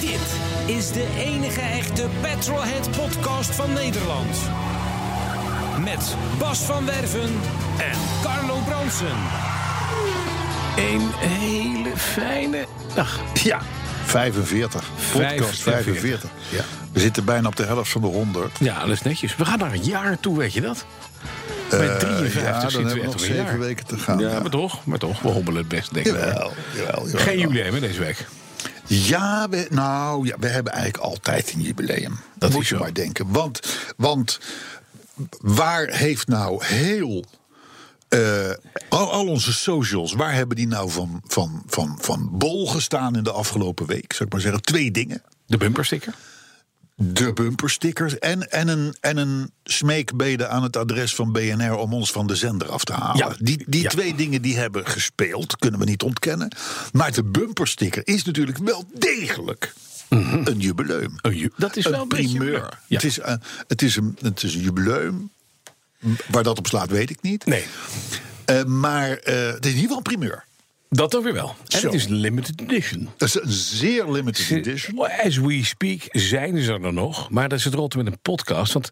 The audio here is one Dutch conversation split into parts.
Dit is de enige echte Petrolhead podcast van Nederland. Met Bas van Werven en Carlo Bronsen. Een hele fijne dag. Ja. 45. Podcast 45. Ja. We zitten bijna op de helft van de 100. Ja, dat is netjes. We gaan naar een jaar toe, weet je dat? Met 53 Eh, ja, dan dus zitten hebben we we echt nog op een jaar. zeven weken te gaan. Ja, maar toch, maar toch. We hobbelen het best, denk ik. Jawel, jawel, jawel. Geen jubileum hè, deze week. Ja, we, nou, ja, we hebben eigenlijk altijd een jubileum. Dat moet is je zo. maar denken. Want, want waar heeft nou heel... eh, al, al onze socials, waar hebben die nou van, van, van, van bol gestaan in de afgelopen week? Zou ik maar zeggen, twee dingen. De bumpersticker. de bumperstickers en, en, een, en een smeekbede aan het adres van BNR om ons van de zender af te halen. Ja. Die, die Ja. twee dingen die hebben gespeeld, kunnen we niet ontkennen. Maar de bumpersticker is natuurlijk wel degelijk een jubileum. Mhm. Een ju- dat is wel een beetje primeur. jubileum. Ja. Het, is, eh, het, is een, het is een jubileum. Waar dat op slaat, weet ik niet. Nee, Eh, maar eh, het is in ieder geval een primeur. dat dan weer wel. En Zo. het is limited edition. Dat is een zeer limited edition. As we speak zijn ze er nog. Maar dat is het rotte met een podcast. Want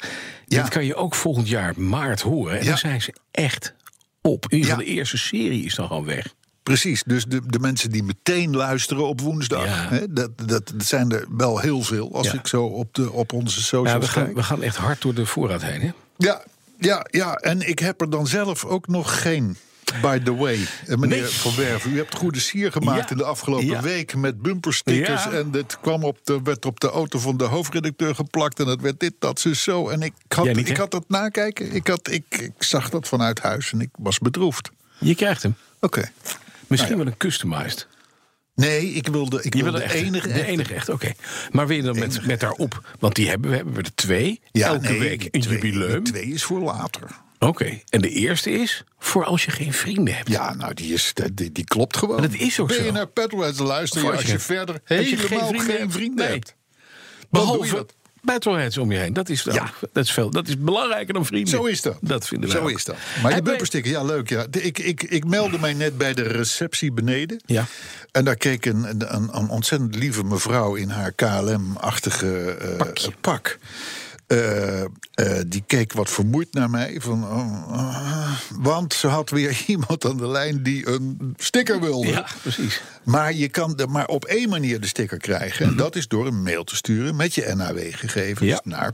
Ja. dit kan je ook volgend jaar maart horen. En Ja. dan zijn ze echt op. In ieder geval Ja. de eerste serie is dan gewoon weg. Precies, dus de, de mensen die meteen luisteren op woensdag, Ja. hè, dat, dat, dat zijn er wel heel veel als Ja. ik zo op, de, op onze Ja, socials we, gaan, kijk. we gaan echt hard door de voorraad heen. Hè? Ja, ja, ja, en ik heb er dan zelf ook nog geen. By the way, Eh, meneer Nee. Van Werven, u hebt goede sier gemaakt Ja. in de afgelopen Ja. week met bumperstickers. Ja. En het kwam op de, werd op de auto van de hoofdredacteur geplakt. En het werd dit, dat, zus, zo. En ik had, Jij niet, ik hè? had dat nakijken. Ik, had, ik, ik zag dat vanuit huis en ik was bedroefd. Je krijgt hem. Oké. Misschien wel een customized. Nee, ik wilde, ik Je wil wilde de, de echte. enige, de enige echt. Oké. Maar wil je dan met, met daarop? Want die hebben we, hebben we er twee. Elke nee, week die een twee- jubileum. die twee is voor later. Oké. En de eerste is voor als je geen vrienden hebt. Ja, nou, die, is, die, die klopt gewoon. Maar dat is ook zo. BNR Petrolheads, luister je Voor als je, verder helemaal geen vrienden, Nee. hebt. Dan doe je Behalve dat. Petrolheads om je heen. Dat is, dan- Ja. dat, is veel, dat is belangrijker dan vrienden. Zo is dat. Dat vinden we Zo is dat. Maar die bumpersticker, ja, leuk. Ja. De- Ik, ik, ik meldde mij net bij de receptie beneden. Ja. En daar keek een, een, een- een ontzettend lieve mevrouw in haar KLM-achtige eh, Pakje. pak. Eh, eh, die keek wat vermoeid naar mij. Van, oh, ah, want ze had weer iemand aan de lijn die een sticker wilde. Ja, precies. Maar je kan er maar op één manier de sticker krijgen. En dat is door een mail te sturen met je NAW-gegevens Ja. naar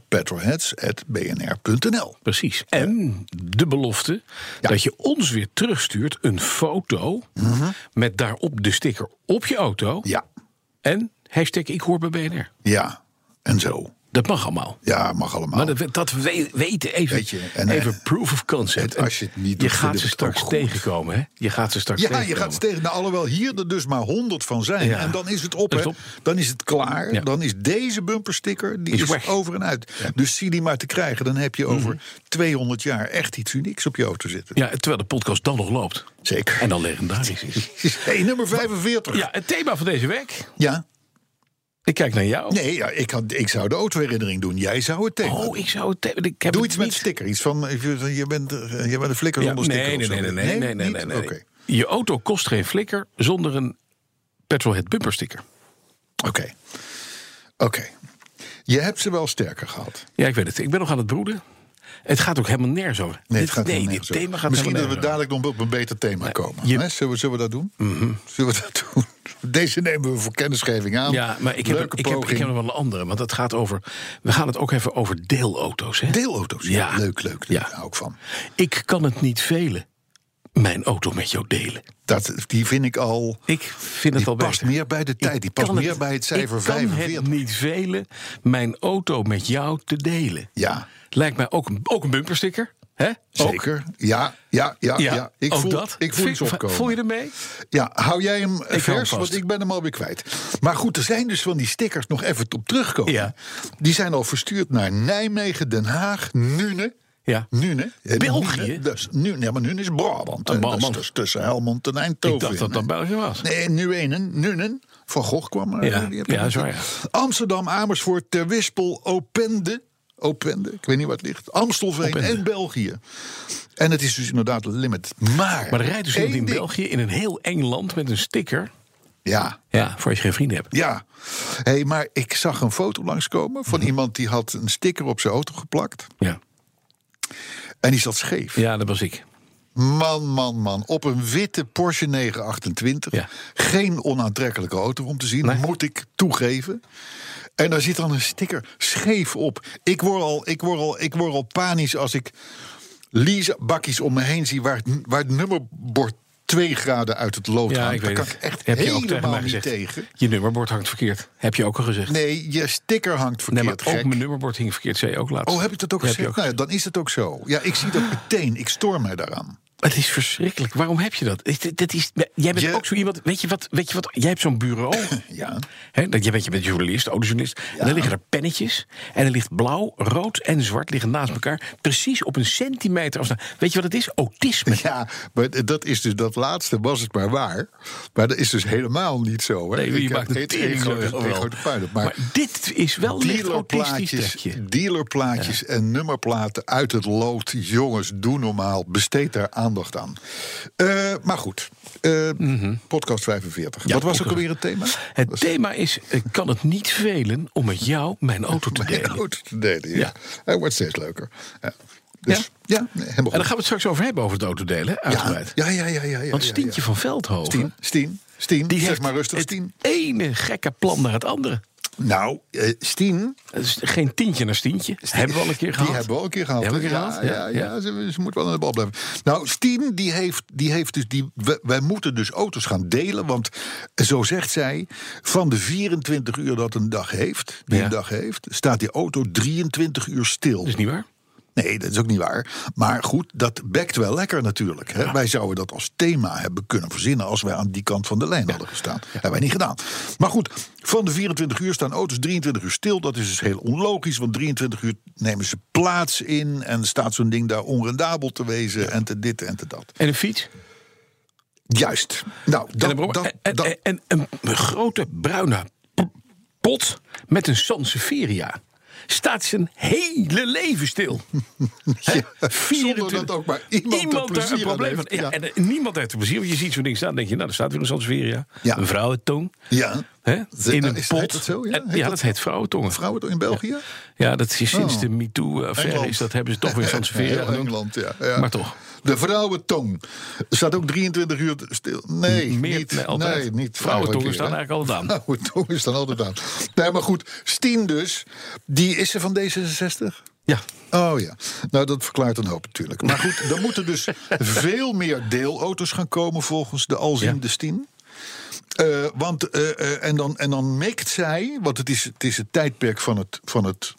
petrolheads.bnr.nl. Precies. En de belofte dat je ons weer terugstuurt een foto met daarop de sticker op je auto. Mhm. Ja, En hashtag ik hoor bij BNR. ja, en zo. Dat mag allemaal. Ja, mag allemaal. Maar dat, dat we- weten even, Weet je, en, even eh, proof of concept. het- als je het niet doet, je vinden gaat we ze het straks ook goed. tegenkomen, hè? Je gaat ze straks ja, je tegenkomen. gaat tegen. Nou, alhoewel hier er dus maar 100 van zijn. Ja. En dan is het op, Dat is hè. op. Dan is het klaar. Ja. Dan is deze bumpersticker die Is is weg. Mhm. over en uit. Dus zie die maar te krijgen. Dan heb je over 200 jaar echt iets unieks op je auto zitten. Ja, terwijl de podcast dan nog loopt. Zeker. En dan legendarisch is. Hey, nummer 45. Ja, het thema van deze week. Ja. Ik kijk naar jou. Nee, ja, ik, had, ik zou de autoherinnering doen. Jij zou het thema Oh, ik zou het thema... Ik heb Doe het iets met niet. sticker. Iets van, eh, je je bent, eh, je bent een flikker Ja, zonder sticker. nee, of nee, zo. nee, nee, nee, nee, nee, niet? nee, nee. Oké. Je auto kost geen flikker zonder een petrolhead bumpersticker. Oké. Oké. Je hebt ze wel sterker gehad. Ja, ik weet het. Ik ben nog aan het broeden. Het gaat ook helemaal nergens over. Nee, het Dit- gaat nee, helemaal dit nergens over. thema gaat Misschien dat helemaal we nergens dadelijk nog op een beter thema komen. je- Mhm. hè? Zullen, we, zullen we dat doen? Zullen we dat doen? Deze nemen we voor kennisgeving aan. over. Ja, maar ik heb, Leuke ik, heb, ik poging. heb nog wel een andere. Want het gaat over... We gaan het ook even over deelauto's. Hè? Deelauto's. Ja. Ja. Leuk, leuk. Ja. Daar hou ik van. Ik kan het niet velen. Mijn auto met jou delen. Dat, die vind ik al... Ik vind het Die al past beter. meer bij de tijd. Die past kan meer bij het cijfer ik kan 45. Het niet velen mijn auto met jou te delen. Ja. Lijkt mij ook een, ook een bumpersticker. hè? Hè? Ook? Zeker. Ja, ja, ja, ja. Ja, Ik ook voel, dat. Ik voel Vind- iets opkomen. Voel je ermee? Ja, hou jij hem eh, Ik hou hem vers, vast. want ik ben hem alweer kwijt. Maar goed, er zijn dus van die stickers nog even op terugkomen. Ja. Die zijn al verstuurd naar Nijmegen, Den Haag, Nune. Ja. Nune. Eh, België? Nune, dat is, Nune, ja, maar Nune is Brabant. Oh, hè. Dat is Brabant. dus tussen Helmond en Eindhoven. Ik dacht dat dat België was. Nee, Nuenen, Nuenen. Van Gogh kwam er. Ja, die heb ik ja, net- is waar, ja. Amsterdam, Amersfoort, Ter Wispel, Opende. Opende, ik weet niet waar het ligt. Amstelveen Opende. en België. En het is dus inderdaad limited. Maar, Maar er rijdt dus iemand één in ding- België in een heel eng land met een sticker. Ja, Ja, voor als je geen vrienden hebt. Ja, hey, maar ik zag een foto langskomen Mhm. van iemand die had een sticker op zijn auto geplakt. Ja, En die zat scheef. ja dat was ik. Man, man, man. Op een witte Porsche 928. Ja. Geen onaantrekkelijke auto om te zien, Nee. moet ik toegeven. En daar zit dan een sticker scheef op. Ik word al, ik word al, ik word al panisch als ik leasebakjes om me heen zie... waar het, n- waar het nummerbord twee graden uit het lood Ja, hangt. ik weet daar kan het. ik echt Heb je ook tegen helemaal mij niet gezegd. tegen. Je nummerbord hangt verkeerd. Heb je ook al gezegd. Nee, je sticker hangt verkeerd, Nee, maar ook gek. mijn nummerbord hing verkeerd, zei je ook laatst. Oh, heb ik dat ook Ja, heb je gezegd? Nou ja, dan is het ook zo. Ja, ik zie dat meteen. Ik stoor mij daaraan. Het is verschrikkelijk. Waarom heb je dat? Dit- dit is, jij bent Je- ook zo iemand. Weet je wat? Weet je wat jij hebt zo'n bureau. Ja. Hè, dat, je, weet, je bent journalist, audiojournalist. En dan liggen er pennetjes. En er ligt blauw, rood en zwart liggen naast elkaar. Precies op een centimeter afstand. Weet je wat het is? Autisme. Ja, maar dat is dus dat laatste was het maar waar. Maar dat is dus helemaal niet zo. Hè? Nee, je Ik maakt heb een dit teringzooi grote- wel. een grote puinhoop. Maar, Maar dit is wel licht autistisch dealerplaatjes, trekje. dealerplaatjes en nummerplaten uit het lood. Jongens, doe normaal. Besteed daar aandacht aan. Eh, maar goed, Eh, Mhm. podcast 45. Wat was ook podcast. alweer het thema? Het thema is, ik kan het niet velen om met jou mijn auto te Mijn delen. auto te delen, ja. Ja. Hij wordt steeds leuker. Ja. Dus, ja? nee, helemaal En daar goed. gaan we het straks over hebben, over het auto delen, uitgebreid. Ja, ja, ja, ja. ja Want ja, Stientje ja. van Veldhoven... Stien, Stien, Stien, die zeg heeft maar rustig het Stien. ene gekke plan naar het andere. Nou, eh, Stien, Het is geen tientje naar stientje. Hebben we al een keer gehad. die hebben we ook een keer gehad. Die hebben we hè? een keer ja, ja, gehad, ja, ja, ze, ze moet wel aan de bal blijven. Nou, Stien, die heeft, die heeft dus... Die, we- wij moeten dus auto's gaan delen, want zo zegt zij... van de 24 uur dat een dag heeft, die Ja. een dag heeft... staat die auto 23 uur stil. Dat is niet waar. Nee, dat is ook niet waar. Maar goed, dat bekt wel lekker natuurlijk. Hè? Wij zouden dat als thema hebben kunnen verzinnen als wij aan die kant van de lijn hadden gestaan. Hebben wij niet gedaan. Maar goed, van de 24 uur staan auto's 23 uur stil. Dat is dus heel onlogisch, want 23 uur nemen ze plaats in en staat zo'n ding daar onrendabel te wezen en te dit en te dat. En een fiets. Juist. Nou, En dat, een, brommer. dat, en, dat- en- en- en een grote bruine p- pot met een Sansevieria. Staat zijn hele leven stil. Hè? zonder dat ook maar iemand, er daar plezier een probleem aan van. heeft. Ja, En eh, niemand heeft er plezier. Want je ziet zo'n ding staan. Dan denk je, nou, daar staat weer een Sansevieria. Ja. Een vrouwentong. Ja. Hè? Ze- In een is- pot. heet dat zo? Ja? En- Heet ja, dat- dat heet vrouwentongen. Vrouwen in België? Ja, dat is sinds Oh. de MeToo-affaire Engeland. is. Dat hebben ze toch weer Sansevieria Heel genoemd. Engeland, ja, ja. Maar toch. De vrouwentong. Staat ook 23 uur stil. Nee, Meer, niet. nee, altijd. Nee, niet. Vrouwentongen staan eigenlijk eigenlijk altijd aan. Vrouwentong is dan altijd aan. Nee, maar goed. Stien dus. Die is ze van D66? Ja. Oh ja, nou dat verklaart een hoop natuurlijk. Maar goed, er moeten dus veel meer deelauto's gaan komen volgens de alziende Stien. Eh, want, eh, eh, en, dan, en dan mikt zij, want het is het, is het tijdperk van het, van het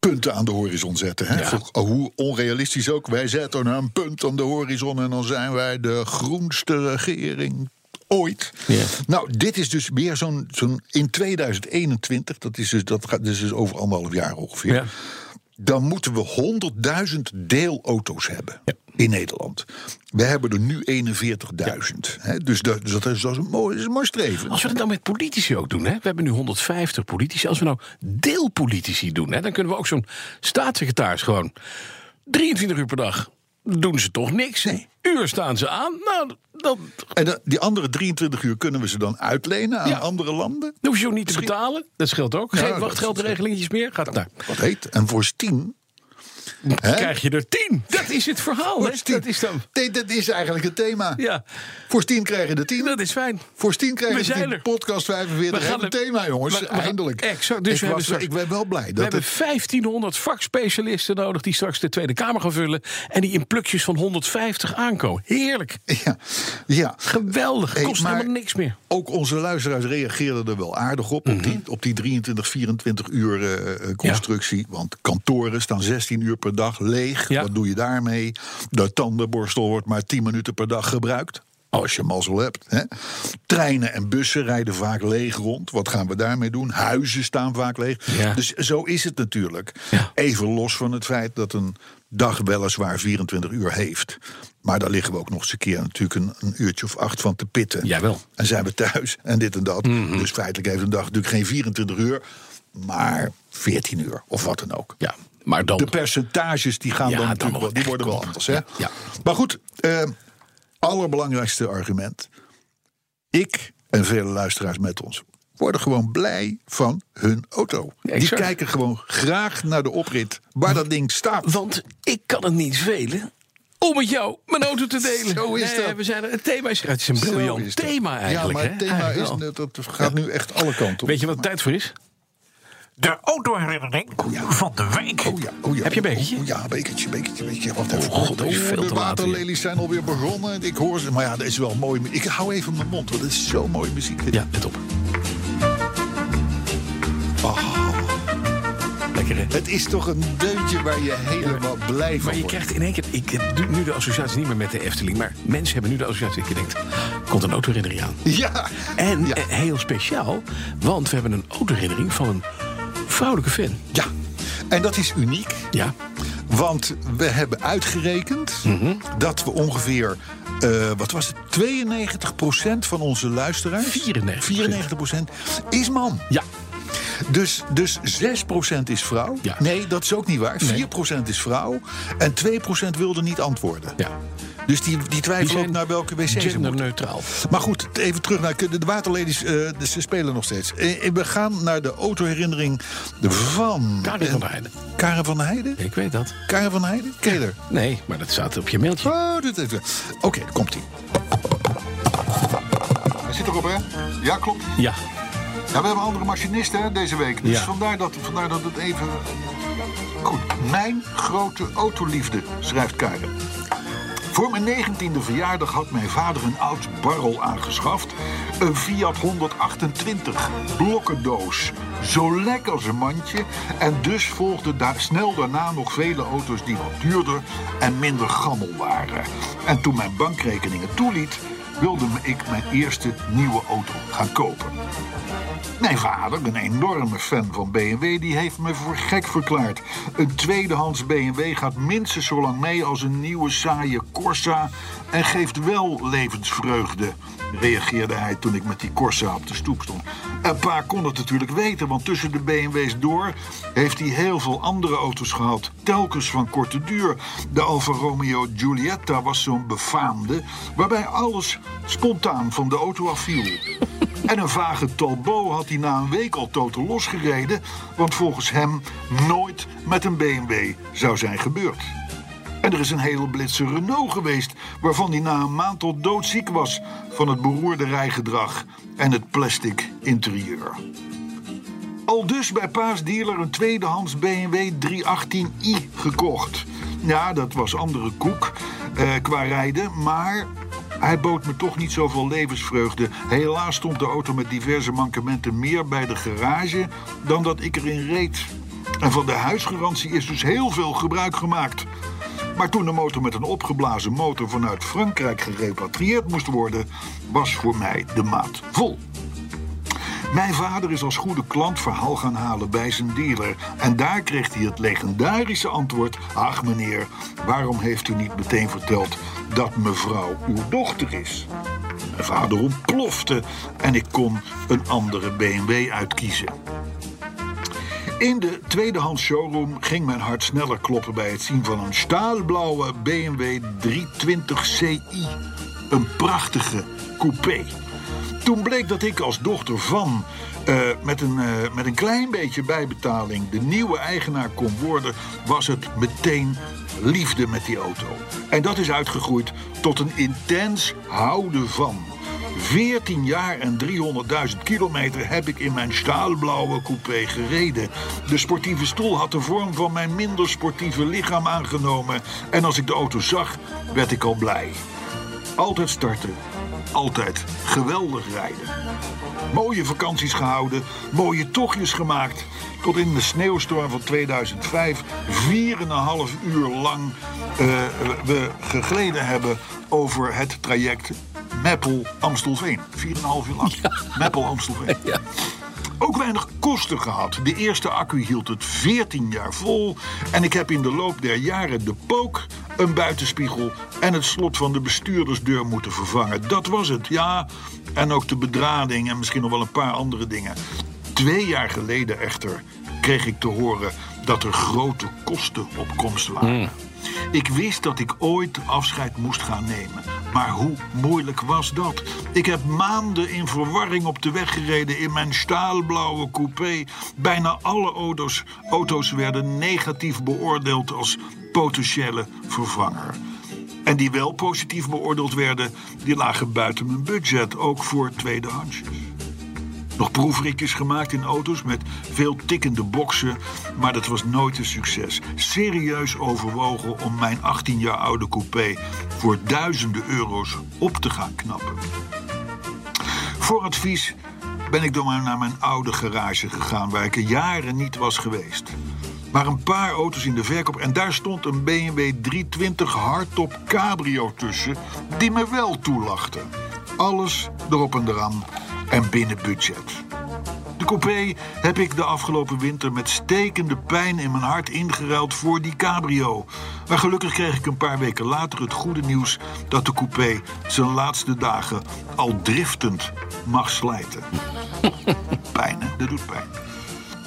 punten aan de horizon zetten. Hè? Voor- hoe onrealistisch ook, wij zetten nou een punt aan de horizon en dan zijn wij de groenste regering ooit. Ja. Nou, dit is dus weer zo'n, zo'n in 2021, dat is dus, dat gaat, dat is dus over anderhalf jaar ongeveer ja. dan moeten we 100.000 deelauto's hebben Ja. in Nederland. We hebben er nu 41.000. hè. Dus, dat, dus dat, is, dat, is een mooi, dat is een mooi streven. Als we dat nou met politici ook doen, hè? we hebben nu 150 politici. Als we nou deelpolitici doen, hè, dan kunnen we ook zo'n staatssecretaris gewoon 23 uur per dag doen ze toch niks. Uur staan ze aan. Nou, dan En dat- die andere 23 uur kunnen we ze dan uitlenen aan Ja. andere landen. hoef je ze ook niet te betalen. Dat scheelt ook. Geen Ja, dat- wachtgeldregelingetjes meer. Gaat daar. Wat heet? En voor Stien. hè? Krijg je er 10. Dat is het verhaal. Voor Hè? Stien- Dat is dan. Nee, dat is eigenlijk het thema. Ja, Voor Stien krijgen de 10. dat is fijn. Voor Stien krijgen We we zijn de er. 10. Podcast 45. We We gaan gaan het er- thema, jongens. we- we- eindelijk. Exact, dus we ik, hebben was- straks- ik ben wel blij. We Dat hebben het, 1500 vakspecialisten nodig die straks de Tweede Kamer gaan vullen. En die in plukjes van 150 aankomen. Heerlijk. ja, ja. Geweldig. Hey, Kost maar- helemaal niks meer. Ook onze luisteraars reageerden er wel aardig op. Mhm. Op die, op die 23, 24 uur eh, eh, constructie. Want kantoren staan 16 uur per per dag leeg. Ja. Wat doe je daarmee? De tandenborstel wordt maar 10 minuten per dag gebruikt. Als je mazzel hebt. Hè? Treinen en bussen rijden vaak leeg rond. Wat gaan we daarmee doen? Huizen staan vaak leeg. Ja. Dus zo is het natuurlijk. Ja. Even los van het feit dat een dag weliswaar 24 uur heeft. Maar daar liggen we ook nog eens een keer natuurlijk een, een uurtje of acht van te pitten. Jawel. En zijn we thuis en dit en dat. Mhm. Dus feitelijk heeft een dag natuurlijk geen 24 uur, maar 14 uur of wat dan ook. Ja, maar dan... De percentages die gaan Ja, dan dan natuurlijk nog wel, die echt, worden wel kom op. anders. Hè? Ja, ja. Maar goed, eh, allerbelangrijkste argument. Ik en vele luisteraars met ons worden gewoon blij van hun auto. Die exact. kijken gewoon graag naar de oprit waar dat ding staat. Want ik kan het niet velen om met jou mijn auto te delen. Zo is Nee, dat. We zijn er, het thema is, het is een Zo briljant is dat. thema eigenlijk. Ja, maar het hè? thema Eigenlijk is, wel. net- dat gaat nu echt alle kanten op. Weet je wat het tijd voor is? De autoherinnering van de week. Oh ja, oh ja. Heb je een bekertje? Oh, Oh ja, bekertje, bekertje, bekertje. Wacht even. god, dat is veel te de laat waterlelies zijn alweer begonnen. Ik hoor ze. Maar ja, dat is wel mooi. mu- Ik hou even mijn mond, want het is zo mooie muziek. dit. Ja, let op. Oh. Lekker hè? Het is toch een deuntje waar je helemaal blij Maar van je wordt. krijgt in één keer, ik heb nu- nu de associatie niet meer met de Efteling, maar mensen hebben nu de associatie. Ik denk, komt een autoherinnering aan. Ja. En Ja. eh, heel speciaal, want we hebben een autoherinnering van een vrouwelijke fan. ja. En dat is uniek. Ja, Want we hebben uitgerekend Mhm. dat we ongeveer, eh, wat was het, 92% van onze luisteraars... 94%. 94% is man. ja, Dus, dus 6% is vrouw. Ja. Nee, dat is ook niet waar. 4% is vrouw. En 2% wilde niet antwoorden. ja. Dus die, die Die twijfelen ook zijn naar welke wc ze moeten. Genderneutraal. Maar goed, even terug naar de waterladies. eh, ze spelen nog steeds. Eh, eh, we gaan naar de autoherinnering van... Karin van der Heijden. Karen van der Heijden? Ik weet dat. Karen van der Heijden? Keler. Nee, maar dat staat op je mailtje. Oh, dit even. Oké, daar komt ie. Hij zit erop, hè? Ja, klopt. Ja, Ja, we hebben andere machinisten hè, deze week. Dus Ja. vandaar, dat, vandaar dat het even... Goed. Mijn grote autoliefde, schrijft Karen. Voor mijn negentiende verjaardag had mijn vader een oud barrel aangeschaft. Een Fiat 128 blokkendoos. Zo lek als een mandje. En dus volgden daar snel daarna nog vele auto's die wat duurder en minder gammel waren. En toen mijn bankrekening het toeliet, wilde ik mijn eerste nieuwe auto gaan kopen. Mijn vader, een enorme fan van BMW, die heeft me voor gek verklaard. Een tweedehands BMW gaat minstens zo lang mee als een nieuwe saaie Corsa en geeft wel levensvreugde, reageerde hij toen ik met die Corsa op de stoep stond. En pa kon het natuurlijk weten, want tussen de BMW's door heeft hij heel veel andere auto's gehad, telkens van korte duur. De Alfa Romeo Giulietta was zo'n befaamde, waarbij alles spontaan van de auto afviel. En een vage Talbot had hij na een week al totaal losgereden... want volgens hem nooit met een BMW zou zijn gebeurd. En er is een hele blitse Renault geweest... waarvan hij na een maand tot doodziek was... van het beroerde rijgedrag en het plastic interieur. Al dus bij Paas dealer een tweedehands BMW 318i gekocht. Ja, dat was andere koek eh, qua rijden, maar hij bood me toch niet zoveel levensvreugde. Helaas stond de auto met diverse mankementen meer bij de garage dan dat ik erin reed. En van de huisgarantie is dus heel veel gebruik gemaakt. Maar toen de motor met een opgeblazen motor vanuit Frankrijk gerepatrieerd moest worden, was voor mij de maat vol. Mijn vader is als goede klant verhaal gaan halen bij zijn dealer. En daar kreeg hij het legendarische antwoord: Ach meneer, waarom heeft u niet meteen verteld dat mevrouw uw dochter is? Mijn vader ontplofte en ik kon een andere BMW uitkiezen. In de tweedehands showroom ging mijn hart sneller kloppen bij het zien van een staalblauwe BMW 320 Ci. Een prachtige coupé. Toen bleek dat ik als dochter van, eh, met, een, eh, met een klein beetje bijbetaling, de nieuwe eigenaar kon worden, was het meteen liefde met die auto. En dat is uitgegroeid tot een intens houden van. 14 jaar en 300.000 kilometer heb ik in mijn staalblauwe coupé gereden. De sportieve stoel had de vorm van mijn minder sportieve lichaam aangenomen. En als ik de auto zag, werd ik al blij. Altijd starten, altijd geweldig rijden. Mooie vakanties gehouden, mooie tochtjes gemaakt. Tot in de sneeuwstorm van 2005, 4,5 uur lang eh, we gegleden hebben over het traject Meppel-Amstelveen. 4,5 uur lang. Meppel-Amstelveen. Ook weinig kosten gehad. De eerste accu hield het 14 jaar vol. En ik heb in de loop der jaren de pook, een buitenspiegel en het slot van de bestuurdersdeur moeten vervangen. Dat was het, ja. En ook de bedrading en misschien nog wel een paar andere dingen. Twee jaar geleden echter kreeg ik te horen dat er grote kosten op komst waren. Ik wist dat ik ooit afscheid moest gaan nemen. Maar hoe moeilijk was dat? Ik heb maanden in verwarring op de weg gereden in mijn staalblauwe coupé. Bijna alle auto's, auto's werden negatief beoordeeld als potentiële vervanger. En die wel positief beoordeeld werden, die lagen buiten mijn budget, ook voor tweedehandsjes. Nog proefritjes gemaakt in auto's met veel tikkende boksen, maar dat was nooit een succes. Serieus overwogen om mijn 18 jaar oude coupé voor duizenden euro's op te gaan knappen. Voor advies ben ik dan maar naar mijn oude garage gegaan, waar ik er jaren niet was geweest. Maar een paar auto's in de verkoop en daar stond een BMW 320 hardtop cabrio tussen, die me wel toelachte. Alles erop en eraan en binnen budget. De coupé heb ik de afgelopen winter met stekende pijn in mijn hart ingeruild voor die cabrio. Maar gelukkig kreeg ik een paar weken later het goede nieuws dat de coupé zijn laatste dagen al driftend mag slijten. pijn, hè? dat doet pijn.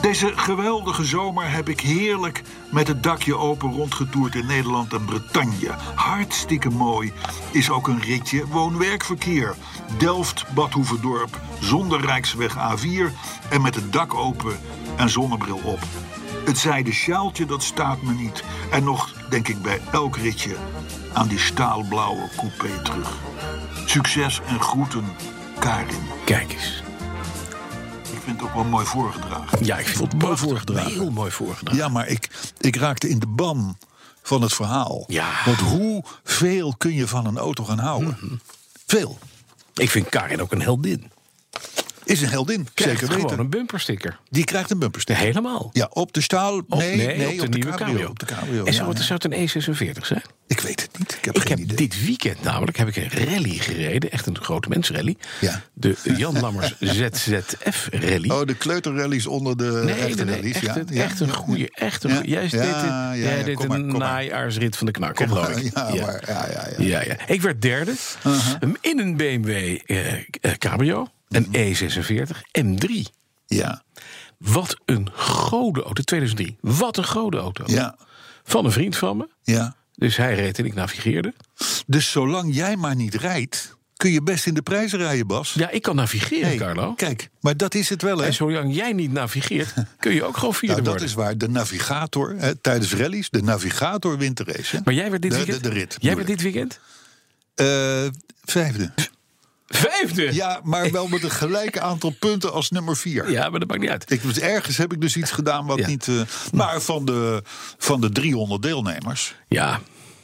Deze geweldige zomer heb ik heerlijk met het dakje open rondgetoerd in Nederland en Bretagne. Hartstikke mooi is ook een ritje woon-werkverkeer. Delft, Badhoevedorp, zonder Rijksweg A4 en met het dak open en zonnebril op. Het zijde sjaaltje, dat staat me niet. En nog, denk ik bij elk ritje, aan die staalblauwe coupé terug. Succes en groeten, Karin. Kijk eens. Ik vind het ook wel mooi voorgedragen. Ja, ik vind het mooi prachtig. voorgedragen. Heel mooi voorgedragen. Ja, maar ik, ik raakte in de ban van het verhaal. Ja. Mhm. Want hoeveel kun je van een auto gaan houden? Veel. Ik vind Karin ook een heldin. Is een heldin, Krijgt zeker weten. Gewoon een bumpersticker. Die krijgt een bumperstick. Helemaal. Ja, op de staal. Op- nee, nee, op, de nieuwe cabrio, Op de cabrio. En ja, zou het, ja. zou het een E46 zijn? Ik weet het niet. Ik heb Ik geen heb idee. dit weekend namelijk heb ik een rally gereden. Echt een grote mensrally. Ja. De Jan Lammers ZZF-rally. Oh, de kleuterrallies onder de Nee, echte nee, nee, rallies. echt, ja, een- ja, echt een ja, goede. Echt een Ja, goeie. Jij ja, deed, dit- ja, jij ja, deed kom maar, een kom maar. najaarsrit van de knak, geloof maar, ik. ja, maar, ja, ja, ja. Uh-huh. Ik werd derde in een BMW eh, eh, Cabrio, een Mhm. E46 M3. Ja, Wat een gode auto, 2003. Wat een gode auto. ja, Van een vriend van me. ja. Dus hij reed en ik navigeerde. Dus zolang jij maar niet rijdt, kun je best in de prijzen rijden, Bas. Ja, ik kan navigeren, Hey, Carlo. Kijk, maar dat is het wel, hè? En zolang jij niet navigeert, kun je ook gewoon vierde Nou, dat worden. is waar. De navigator, hè, tijdens rallies, de navigator wint de race. hè? Maar jij werd dit de, weekend... De, de rit. bedoel jij werd ik. dit weekend? Eh, vijfde. Vijfde! Ja, maar wel met een gelijke aantal punten als nummer vier. Ja, maar dat maakt niet uit. Ik, dus ergens heb ik dus iets gedaan wat Ja. niet... eh, maar van de, van de 300 deelnemers, Ja,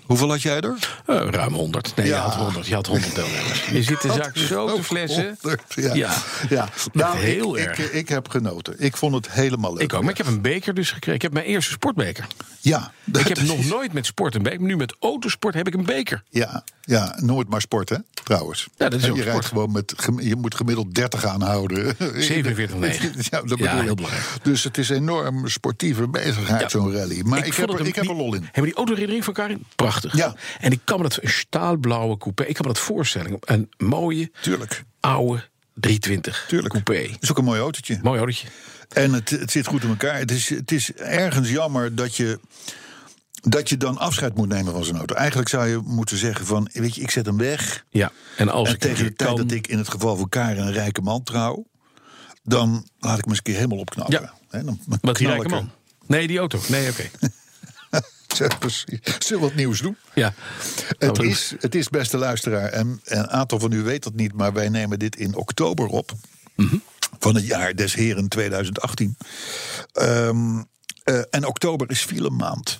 hoeveel had jij er? Eh, ruim 100. Nee, Ja. je had 100. Je had 100 deelnemers. Je zit de zaak zo te Ook flessen. 100, ja. ja. Ja. Nou, heel ik, erg. Ik, ik heb genoten. Ik vond het helemaal leuk. Ik ook, maar ik heb een beker dus gekregen. Ik heb mijn eerste sportbeker. Ja. dat Ik heb is- nog nooit met sport een beker. maar Nu met autosport heb ik een beker. Ja, ja, nooit maar sport, hè? Trouwens. Ja, dat is je ook rijdt sport. gewoon met, gem- je moet gemiddeld 30 aanhouden. 47,9. ja, dat Ja, bedoel heel ik. belangrijk. Dus het is een enorm sportieve bezigheid, Ja. zo'n rally. Maar ik, vond heb, het er, een- ik heb er die- lol in. Hebben die autoherinnering van Karin? Prachtig. Ja. En ik kan me dat een staalblauwe coupé. Ik kan me dat voorstellen. Een mooie, Tuurlijk. oude 320 Tuurlijk. coupé. Het is ook een mooi autootje. Mooi autootje. En het, het zit goed in elkaar. Het is, het is ergens jammer dat je, dat je dan afscheid moet nemen van zo'n auto. Eigenlijk zou je moeten zeggen van, weet je, ik zet hem weg. Ja. En als En ik een tegen de keer tijd kan, dat ik in het geval van Karen een rijke man trouw... dan laat ik me eens een keer helemaal opknappen. Ja. Hè, dan knal Wat die ik rijke er. man. Nee, die auto. Nee, oké. Ja, precies. Zullen we wat nieuws doen? Ja. Nou, Het is, het is beste luisteraar, en en een aantal van u weet dat niet, maar wij nemen dit in oktober op. Mhm. Van het jaar des heren 2018. Ehm, eh, en oktober is file maand.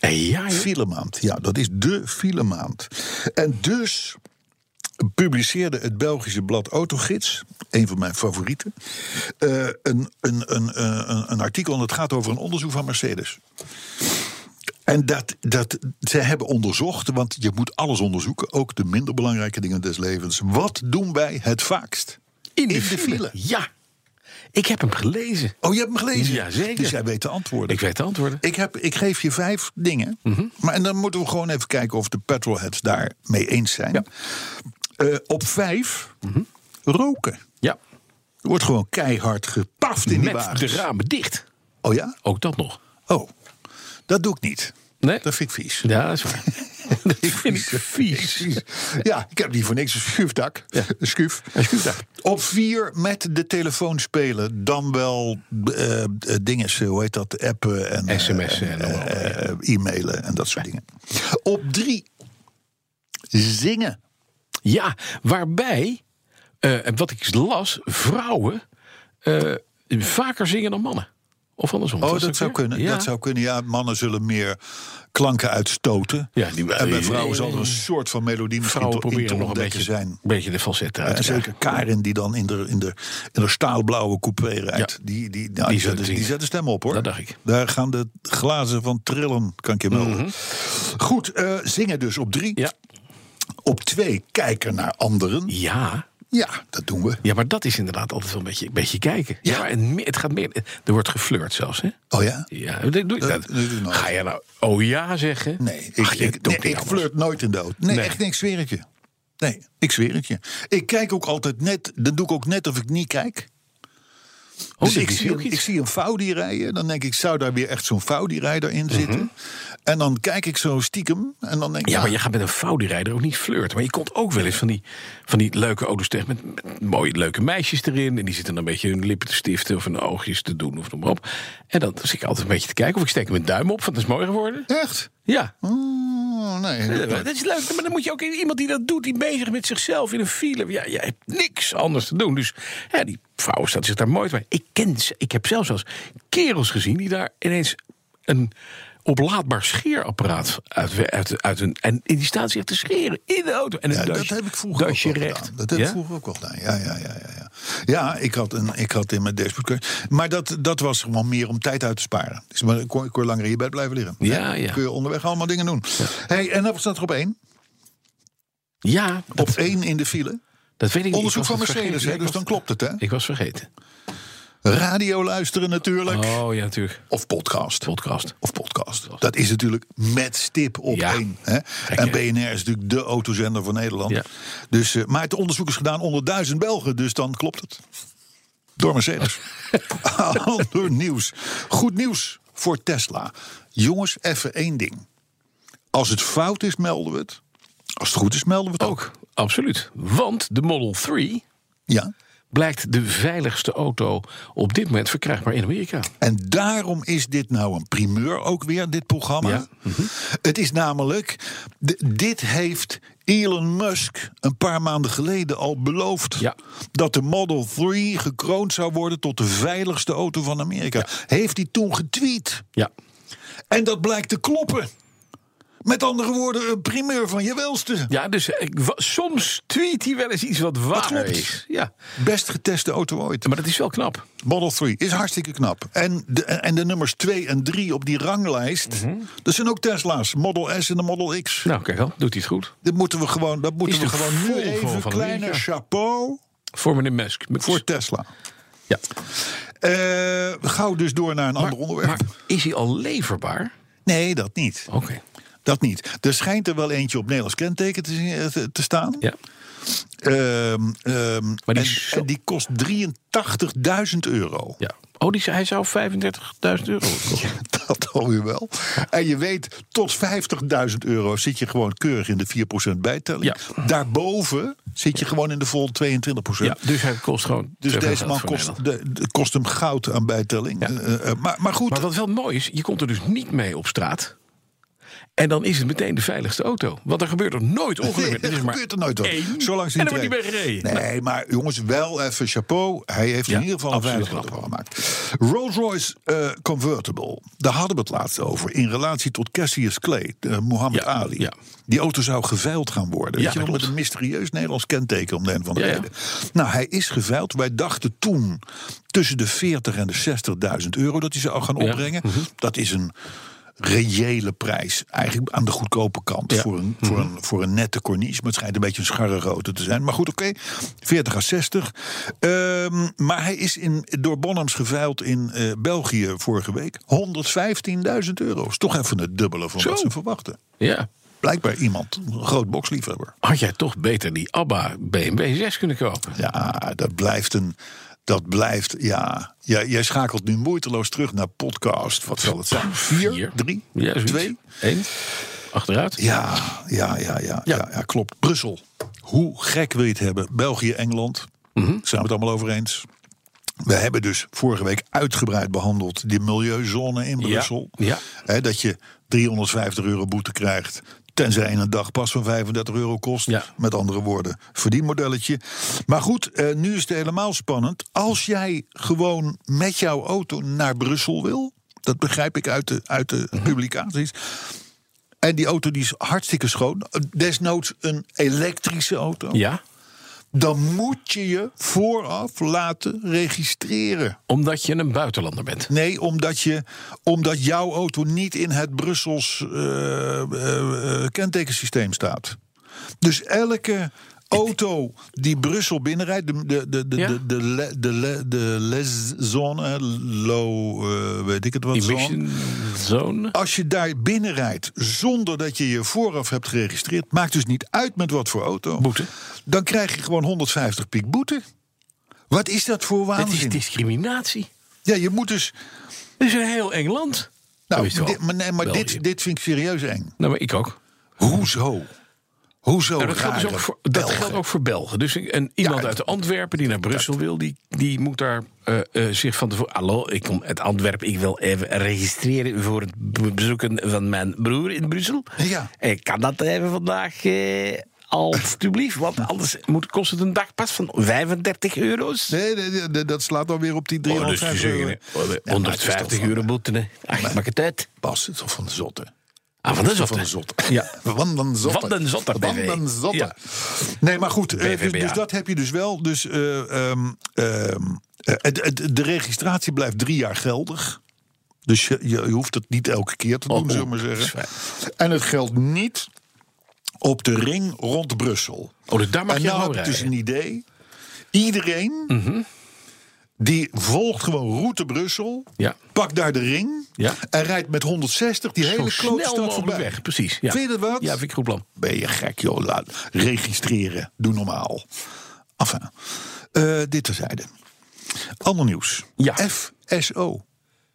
En ja, joh. File maand, ja, dat is de file maand. En dus publiceerde het Belgische blad Autogids, een van mijn favorieten, eh, een, een, een, eh, een, een artikel en het gaat over een onderzoek van Mercedes. En dat, dat ze hebben onderzocht, want je moet alles onderzoeken, ook de minder belangrijke dingen des levens. Wat doen wij het vaakst? In de, In de file. file. Ja. Ik heb hem gelezen. Oh, je hebt hem gelezen? Jazeker. Dus jij weet de antwoorden. Ik weet de antwoorden. Ik, heb, ik geef je vijf dingen. Mhm. Maar en dan moeten we gewoon even kijken of de petrolheads daar mee eens zijn. Eh, op vijf, Mhm. roken. Ja. Er wordt gewoon keihard gepaft in die Met de wagens. ramen dicht. Oh ja? Ook dat nog. Oh, dat doe ik niet. Nee? Dat vind ik vies. Ja, dat is waar. dat vind ik vies. Ja, ik heb niet voor niks een schuifdak. Ja. Een schuif. Een schuifdak. Op vier met de telefoon spelen. Dan wel eh eh, dingen, eh, hoe heet dat, appen en eh, SMS'en en allemaal. eh, e-mailen en dat soort dingen. Op drie, zingen. Ja, waarbij, eh, en wat ik las, vrouwen eh, vaker zingen dan mannen. Of andersom. Oh, Was dat zou weer? kunnen. Ja. Dat zou kunnen. Ja, mannen zullen meer klanken uitstoten. Ja, die- en bij vrouwen zal er een soort van melodie misschien Vrouwen toch in te proberen nog een ontdekken beetje, zijn. een beetje de falsette uit En te zeker zeker. Karin, die dan in de, in de, in de staalblauwe coupé rijdt. Ja. Die, die, nou, Die die, zullen zet, die zingen. zet de stem op, hoor. Dat dacht ik. Mhm. Daar gaan de glazen van trillen, kan ik je melden. Goed, eh, zingen dus op drie. Ja. Op twee, kijken naar anderen. Ja. Ja, dat doen we. ja, maar dat is inderdaad altijd wel een beetje, een beetje kijken. Ja, maar en me- het gaat meer. Er wordt geflirt zelfs, hè? Oh ja? Ja, dat doe ik Dat- dat. dat doe ik nooit. Ga je nou oh ja zeggen? Nee, ik, Ach, je ik, doet nee, niet ik anders. flirt nooit in dood. Nee, Nee. echt niks, zweer het je. Nee, ik zweer het je. Ik kijk ook altijd net, dan doe ik ook net of ik niet kijk. Oh, dus dit ik is zie, ook een, iets. ik zie een Faudi rijden. Dan denk ik, zou daar weer echt zo'n Faudi-rijder Mhm. in zitten? En dan kijk ik zo stiekem. En dan denk ik, Ja, maar nou, je gaat met een Faudi-rijder ook niet flirten. Maar je komt ook wel eens van die, van die leuke auto's tegen... Met, met mooie, leuke meisjes erin. En die zitten dan een beetje hun lippen te stiften... of hun oogjes te doen of noem maar op. En dan zit ik altijd een beetje te kijken... of ik steek mijn duim op, want dat is mooi geworden. echt? Ja. Mm, nee. Dat is leuk, maar dan moet je ook iemand die dat doet... die bezig met zichzelf in een file. Ja, jij hebt niks anders te doen. Dus ja, die vrouw staat zich daar mooi bij. Ik, ken, ze- ik heb zelfs wel eens kerels gezien... die daar ineens een oplaadbaar scheerapparaat uit, uit, uit een... en in die staat zich te scheren in de auto. En een Ja, dat dasje- heb ik vroeger ook dasje wel recht. gedaan. Dat heb ik Ja? vroeger ook wel gedaan. Ja, ja, ja, ja. Ja, ja ik, had een, ik had in mijn dashboard. Maar dat, dat was gewoon meer om tijd uit te sparen. Dus maar ik kon, ik kon langer hierbij blijven liggen. Ja, Hè? ja. Kun je onderweg allemaal dingen doen. Hey, en dan staat er op één. Ja, Op dat, één in de file. dat weet ik niet. Onderzoek Ik was van het Mercedes, vergeten. hè, dus dan klopt het, hè? Ik was vergeten. Radio luisteren natuurlijk. Oh ja, natuurlijk. Of podcast. Podcast. Of podcast. Dat is natuurlijk met stip op Ja. één. Hè? Gek, En hè? BNR is natuurlijk de autozender van Nederland. Ja. Dus, eh, maar het onderzoek is gedaan onder duizend Belgen, dus dan klopt het. Door Mercedes. Ander nieuws. Goed nieuws voor Tesla. Jongens, even één ding. Als het fout is, melden we het. Als het goed is, melden we het ook. Ook, absoluut. Want de Model 3 Ja. blijkt de veiligste auto op dit moment verkrijgbaar in Amerika. En daarom is dit nou een primeur ook weer, dit programma. Ja. mhm. Het is namelijk, d- dit heeft Elon Musk een paar maanden geleden al beloofd. Ja. Dat de Model 3 gekroond zou worden tot de veiligste auto van Amerika. Heeft hij toen getweet. Ja. En dat blijkt te kloppen. Met andere woorden, een primeur van je welste. Ja, dus eh, ik wa- soms tweet hij wel eens iets wat waar klopt. is. Ja. Best geteste auto ooit. Maar dat is wel knap. Model 3 is hartstikke knap. En de, en de nummers 2 en 3 op die ranglijst, dat zijn ook Tesla's. Model S en de Model X. Mhm. Nou, kijk al, doet hij het goed. Dat moeten we gewoon, dat moeten Is we de gewoon nu Volvo even van kleine Amerika. chapeau Voor meneer Musk. voor Tesla. ja. Eh, gauw dus door naar een ander onderwerp. Maar is hij al leverbaar? nee, dat niet. Oké. Dat niet. Er schijnt er wel eentje op Nederlands kenteken te, zien- eh, te- te staan. Ja. Ehm, ehm, Maar die en, is zo- en die kost 83.000 euro. ja. Oh, die, hij zou 35.000 euro kosten. Dat alweer wel. En je weet, tot 50.000 euro zit je gewoon keurig in de 4% bijtelling. Ja. Daarboven zit je gewoon in de vol 22%. Ja, dus hij kost gewoon. Dus te veel deze geld man voor kost, Nederland. de, de- kost hem goud aan bijtelling. Ja. Eh, eh, maar, maar goed, Maar wat wel mooi is, je komt er dus niet mee op straat. En dan is het meteen de veiligste auto. Want er gebeurt er nooit ongeluk met. Er is maar gebeurt er nooit wat. één. Zolang ze en niet dan wordt hij weer rijden. gereden. Nee, maar jongens, wel even chapeau. Hij heeft Ja, in ieder geval een absoluut veilig auto gemaakt. Rolls-Royce eh, Convertible. Daar hadden we het laatst over. In relatie tot Cassius Clay, eh, Muhammad Ja, Ali. ja. Die auto zou geveild gaan worden. Ja, Weet je dat wel, met klopt. een mysterieus Nederlands kenteken om de een van de Ja, ja. reden. Nou, hij is geveild. Wij dachten toen tussen de 40 en de 60.000 euro dat hij zou gaan Ja. opbrengen. Mhm. Dat is een reële prijs. Eigenlijk aan de goedkope kant Ja. Mhm. voor, een, voor, een, voor een nette corniche. Maar het schijnt een beetje een scharrige auto te zijn. Maar goed, oké. 40 à 60. Ehm, maar hij is in, door Bonhams geveild in eh, België vorige week. 115.000 euro. Is toch even het dubbele van Zo. wat ze verwachten. Ja. Blijkbaar iemand, een groot boxliefhebber. Had jij toch beter die ABBA BMW 6 kunnen kopen? Ja, dat blijft een. Dat blijft, ja. Jij, jij schakelt nu moeiteloos terug naar podcast. Wat zal het zijn? Vier? Drie? Ja, zoiets. twee? Eén. Achteruit. Ja, ja, ja, ja, ja. ja, klopt. Brussel. Hoe gek wil je het hebben? België, Engeland. Mhm. Zijn we het allemaal over eens? We hebben dus vorige week uitgebreid behandeld die milieuzone in Brussel. ja. Hè, dat je 350 euro boete krijgt. Tenzij een dag pas van 35 euro kost. Ja. Met andere woorden, verdienmodelletje. Maar goed, eh, nu is het helemaal spannend. Als jij gewoon met jouw auto naar Brussel wil. Dat begrijp ik uit de, uit de Mhm. publicaties. En die auto die is hartstikke schoon. Desnoods een elektrische auto. Ja. Dan moet je je vooraf laten registreren. Omdat je een buitenlander bent. Nee, omdat, je, omdat jouw auto niet in het Brussels eh, eh, eh, kentekensysteem staat. Dus elke auto die Brussel binnenrijdt, de, de, de, de, Ja. de, de, le- de, le- de leszone, low, eh, weet ik het wat, zone. Emission zone. Als je daar binnenrijdt zonder dat je je vooraf hebt geregistreerd, maakt dus niet uit met wat voor auto. Boete. Dan krijg je gewoon 150 piek boete. Wat is dat voor Het is waanzin? discriminatie. Ja, je moet dus. Het is een heel eng land. Zo Nou, is het wel. dit, maar nee, maar België. dit, dit vind ik serieus eng. Nou, maar ik ook. Hoezo? Hoezo? Nou, dat geldt, dus rare ook voor, dat Belgen? geldt ook voor Belgen. Dus een, iemand het- uit Antwerpen die naar Brussel wil, die, die moet daar eh, eh, zich van tevoren. Hallo, ik kom uit Antwerpen. Ik wil even registreren voor het be- bezoeken van mijn broer in Brussel. Ja. Ik kan dat even vandaag. eh Alsjeblieft, want anders moet, kost het een dagpas van 35 euro's. Nee, nee, nee, nee, dat slaat dan weer op die Oh, dus 350 die euro. zeggen, eh, Ja, maar het is 150 toch euro van- boete. hè. Ach, maak het uit. Bas, het is toch van de zotte. Ah, van de zotte. Van de zotte. Ja. Van den zotte. Van den zotte, Van BV. den zotte. Ja. Nee, maar goed. eh, dus, BVBA. dus dat heb je dus wel. Dus eh, ehm, ehm, eh, het- het- de registratie blijft drie jaar geldig. Dus je, je hoeft het niet elke keer te doen, Oh, zullen we maar dat is zeggen. En het geldt niet op de ring rond Brussel. Oh, dus daar mag en je nou nou heb ik dus rijden. Mhm. een idee. Iedereen die volgt gewoon route Brussel. Ja. Pak daar de ring. Ja. En rijdt met 160 die hele Zo snel klote stad mogelijk voorbij. weg, precies. Ja. Vind je dat wat? Ja, vind ik een goed plan. Ben je gek, joh. Laat registreren. Doe normaal. Enfin, eh, dit terzijde. Ander nieuws. Ja. FSO.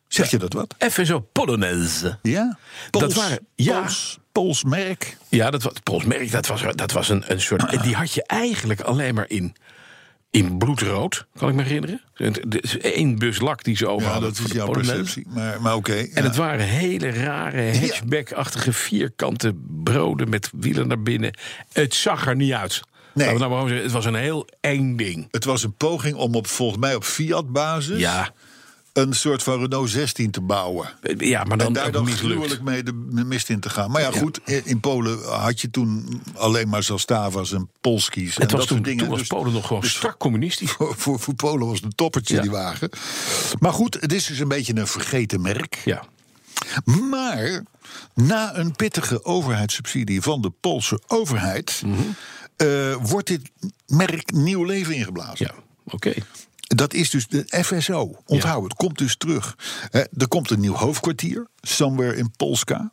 Zeg je dat wat? FSO Polonaise. Ja. waren- ja. Pools, Pools merk. Ja, dat was, Polsmerk, dat was, dat was een, een soort... Die had je eigenlijk alleen maar in, in bloedrood, kan ik me herinneren. Eén bus lak die ze over Ja, hadden dat voor is de jouw Polonaise. perceptie. Maar, maar oké. En ja. het waren hele rare hatchback-achtige vierkante broden met wielen naar binnen. Het zag er niet uit. Laten we nou maar gewoon zeggen, het was een heel eng ding. Het was een poging om op, volgens mij op Fiat-basis... Ja, een soort van Renault 16 te bouwen. ja maar en dan daar ook dan mislukt. gruwelijk mee de mist in te gaan. Maar ja, goed, in in Polen had je toen alleen maar Zastavas en Polskis. en Het was dat toen, soort dingen. toen was Dus Polen nog gewoon strak communistisch. Voor, voor, voor Polen was het een toppertje, Ja. die wagen. Maar goed, het is dus een beetje een vergeten merk. Ja. Maar na een pittige overheidssubsidie van de Poolse overheid... Mhm. eh, wordt dit merk nieuw leven ingeblazen. Ja, oké. Dat is dus de FSO. Onthoud het, komt dus terug. Hè, er komt een nieuw hoofdkwartier, somewhere in Polska.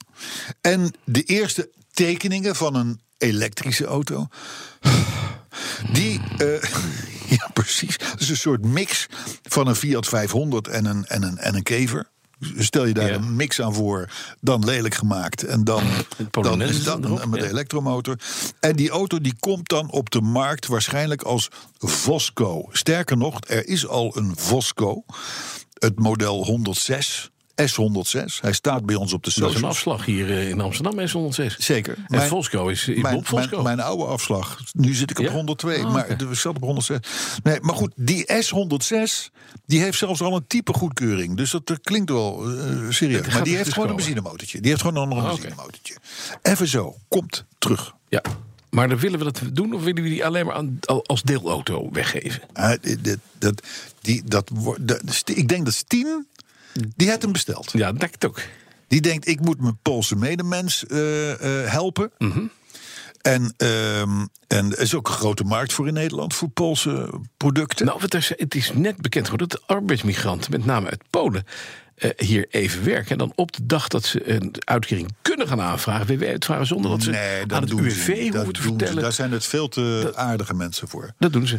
En de eerste tekeningen van een elektrische auto. Die. eh, ja, precies. Dat is een soort mix van een Fiat 500 en een, en een, en een kever. Dus Stel je daar Ja. een mix aan voor, dan lelijk gemaakt en dan, dan Polonaise is dat erop, met de ja. elektromotor. En die auto die komt dan op de markt waarschijnlijk als Vosco. Sterker nog, er is al een Vosco, het model 106 S106. Hij staat bij ons op de Dat is socials. een afslag hier eh, in Amsterdam, S106. Zeker. En Fosco is, is mijn, Bob Fosco. Mijn, mijn oude afslag. Nu zit ik op Ja? 102, Ah, maar oké. we zaten op 106. Nee, maar goed, die S106 die heeft zelfs al een type goedkeuring. Dus dat eh, klinkt wel eh, serieus. gaat Maar er dus die heeft gewoon een komen. benzinemotortje. Die heeft gewoon nog een Ah, oké. benzinemotortje. Even zo, komt terug. Ja. Maar dan willen we dat doen of willen we die alleen maar aan, al- als deelauto weggeven? Ah, dit- dit- dat, die, dat, wordt- dat, ik denk dat Stien, die heeft hem besteld. Ja, dat denk ik ook. Die denkt, ik moet mijn Poolse medemens eh, eh, helpen. Mhm. En, ehm, en er is ook een grote markt voor in Nederland, voor Poolse producten. Nou, wat er is, het is net bekend geworden dat arbeidsmigranten, met name uit Polen, eh, hier even werken. En dan op de dag dat ze een uitkering kunnen gaan aanvragen, WW uitvragen, zonder dat ze dat aan het doen ze UWV hoeven niet. Dat te doen ze. vertellen. Daar zijn het veel te aardige mensen voor. Dat doen ze.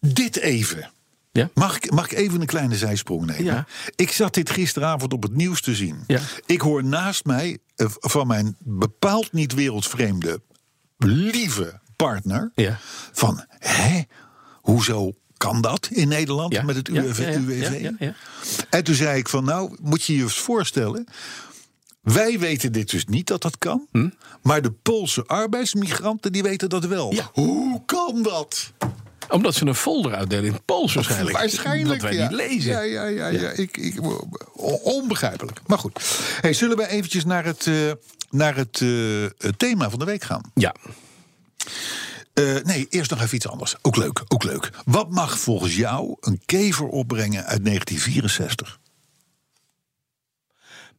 Dit even. Ja? Mag ik, mag ik even een kleine zijsprong nemen? Ja. Ik zat dit gisteravond op het nieuws te zien. Ja. Ik hoor naast mij eh, van mijn bepaald niet wereldvreemde, lieve partner... Ja. van, hè, hoezo kan dat in Nederland Ja, met het ja, UWV? ja, ja, ja, ja. En toen zei ik van, nou, moet je je eens voorstellen... Wij weten dit dus niet dat dat kan. Hm? Maar de Poolse arbeidsmigranten die weten dat wel. Ja. Hoe kan dat? Omdat ze een folder uitdelen in het Pools waarschijnlijk. Waarschijnlijk, Dat wij ja. niet lezen. Ja, ja, ja. ja. Ik, ik, on- onbegrijpelijk. Maar goed. Hey, zullen we eventjes naar het, eh, naar het eh, het thema van de week gaan? Ja. Eh, nee, eerst nog even iets anders. Ook leuk, ook leuk. Wat mag volgens jou een kever opbrengen uit 1964?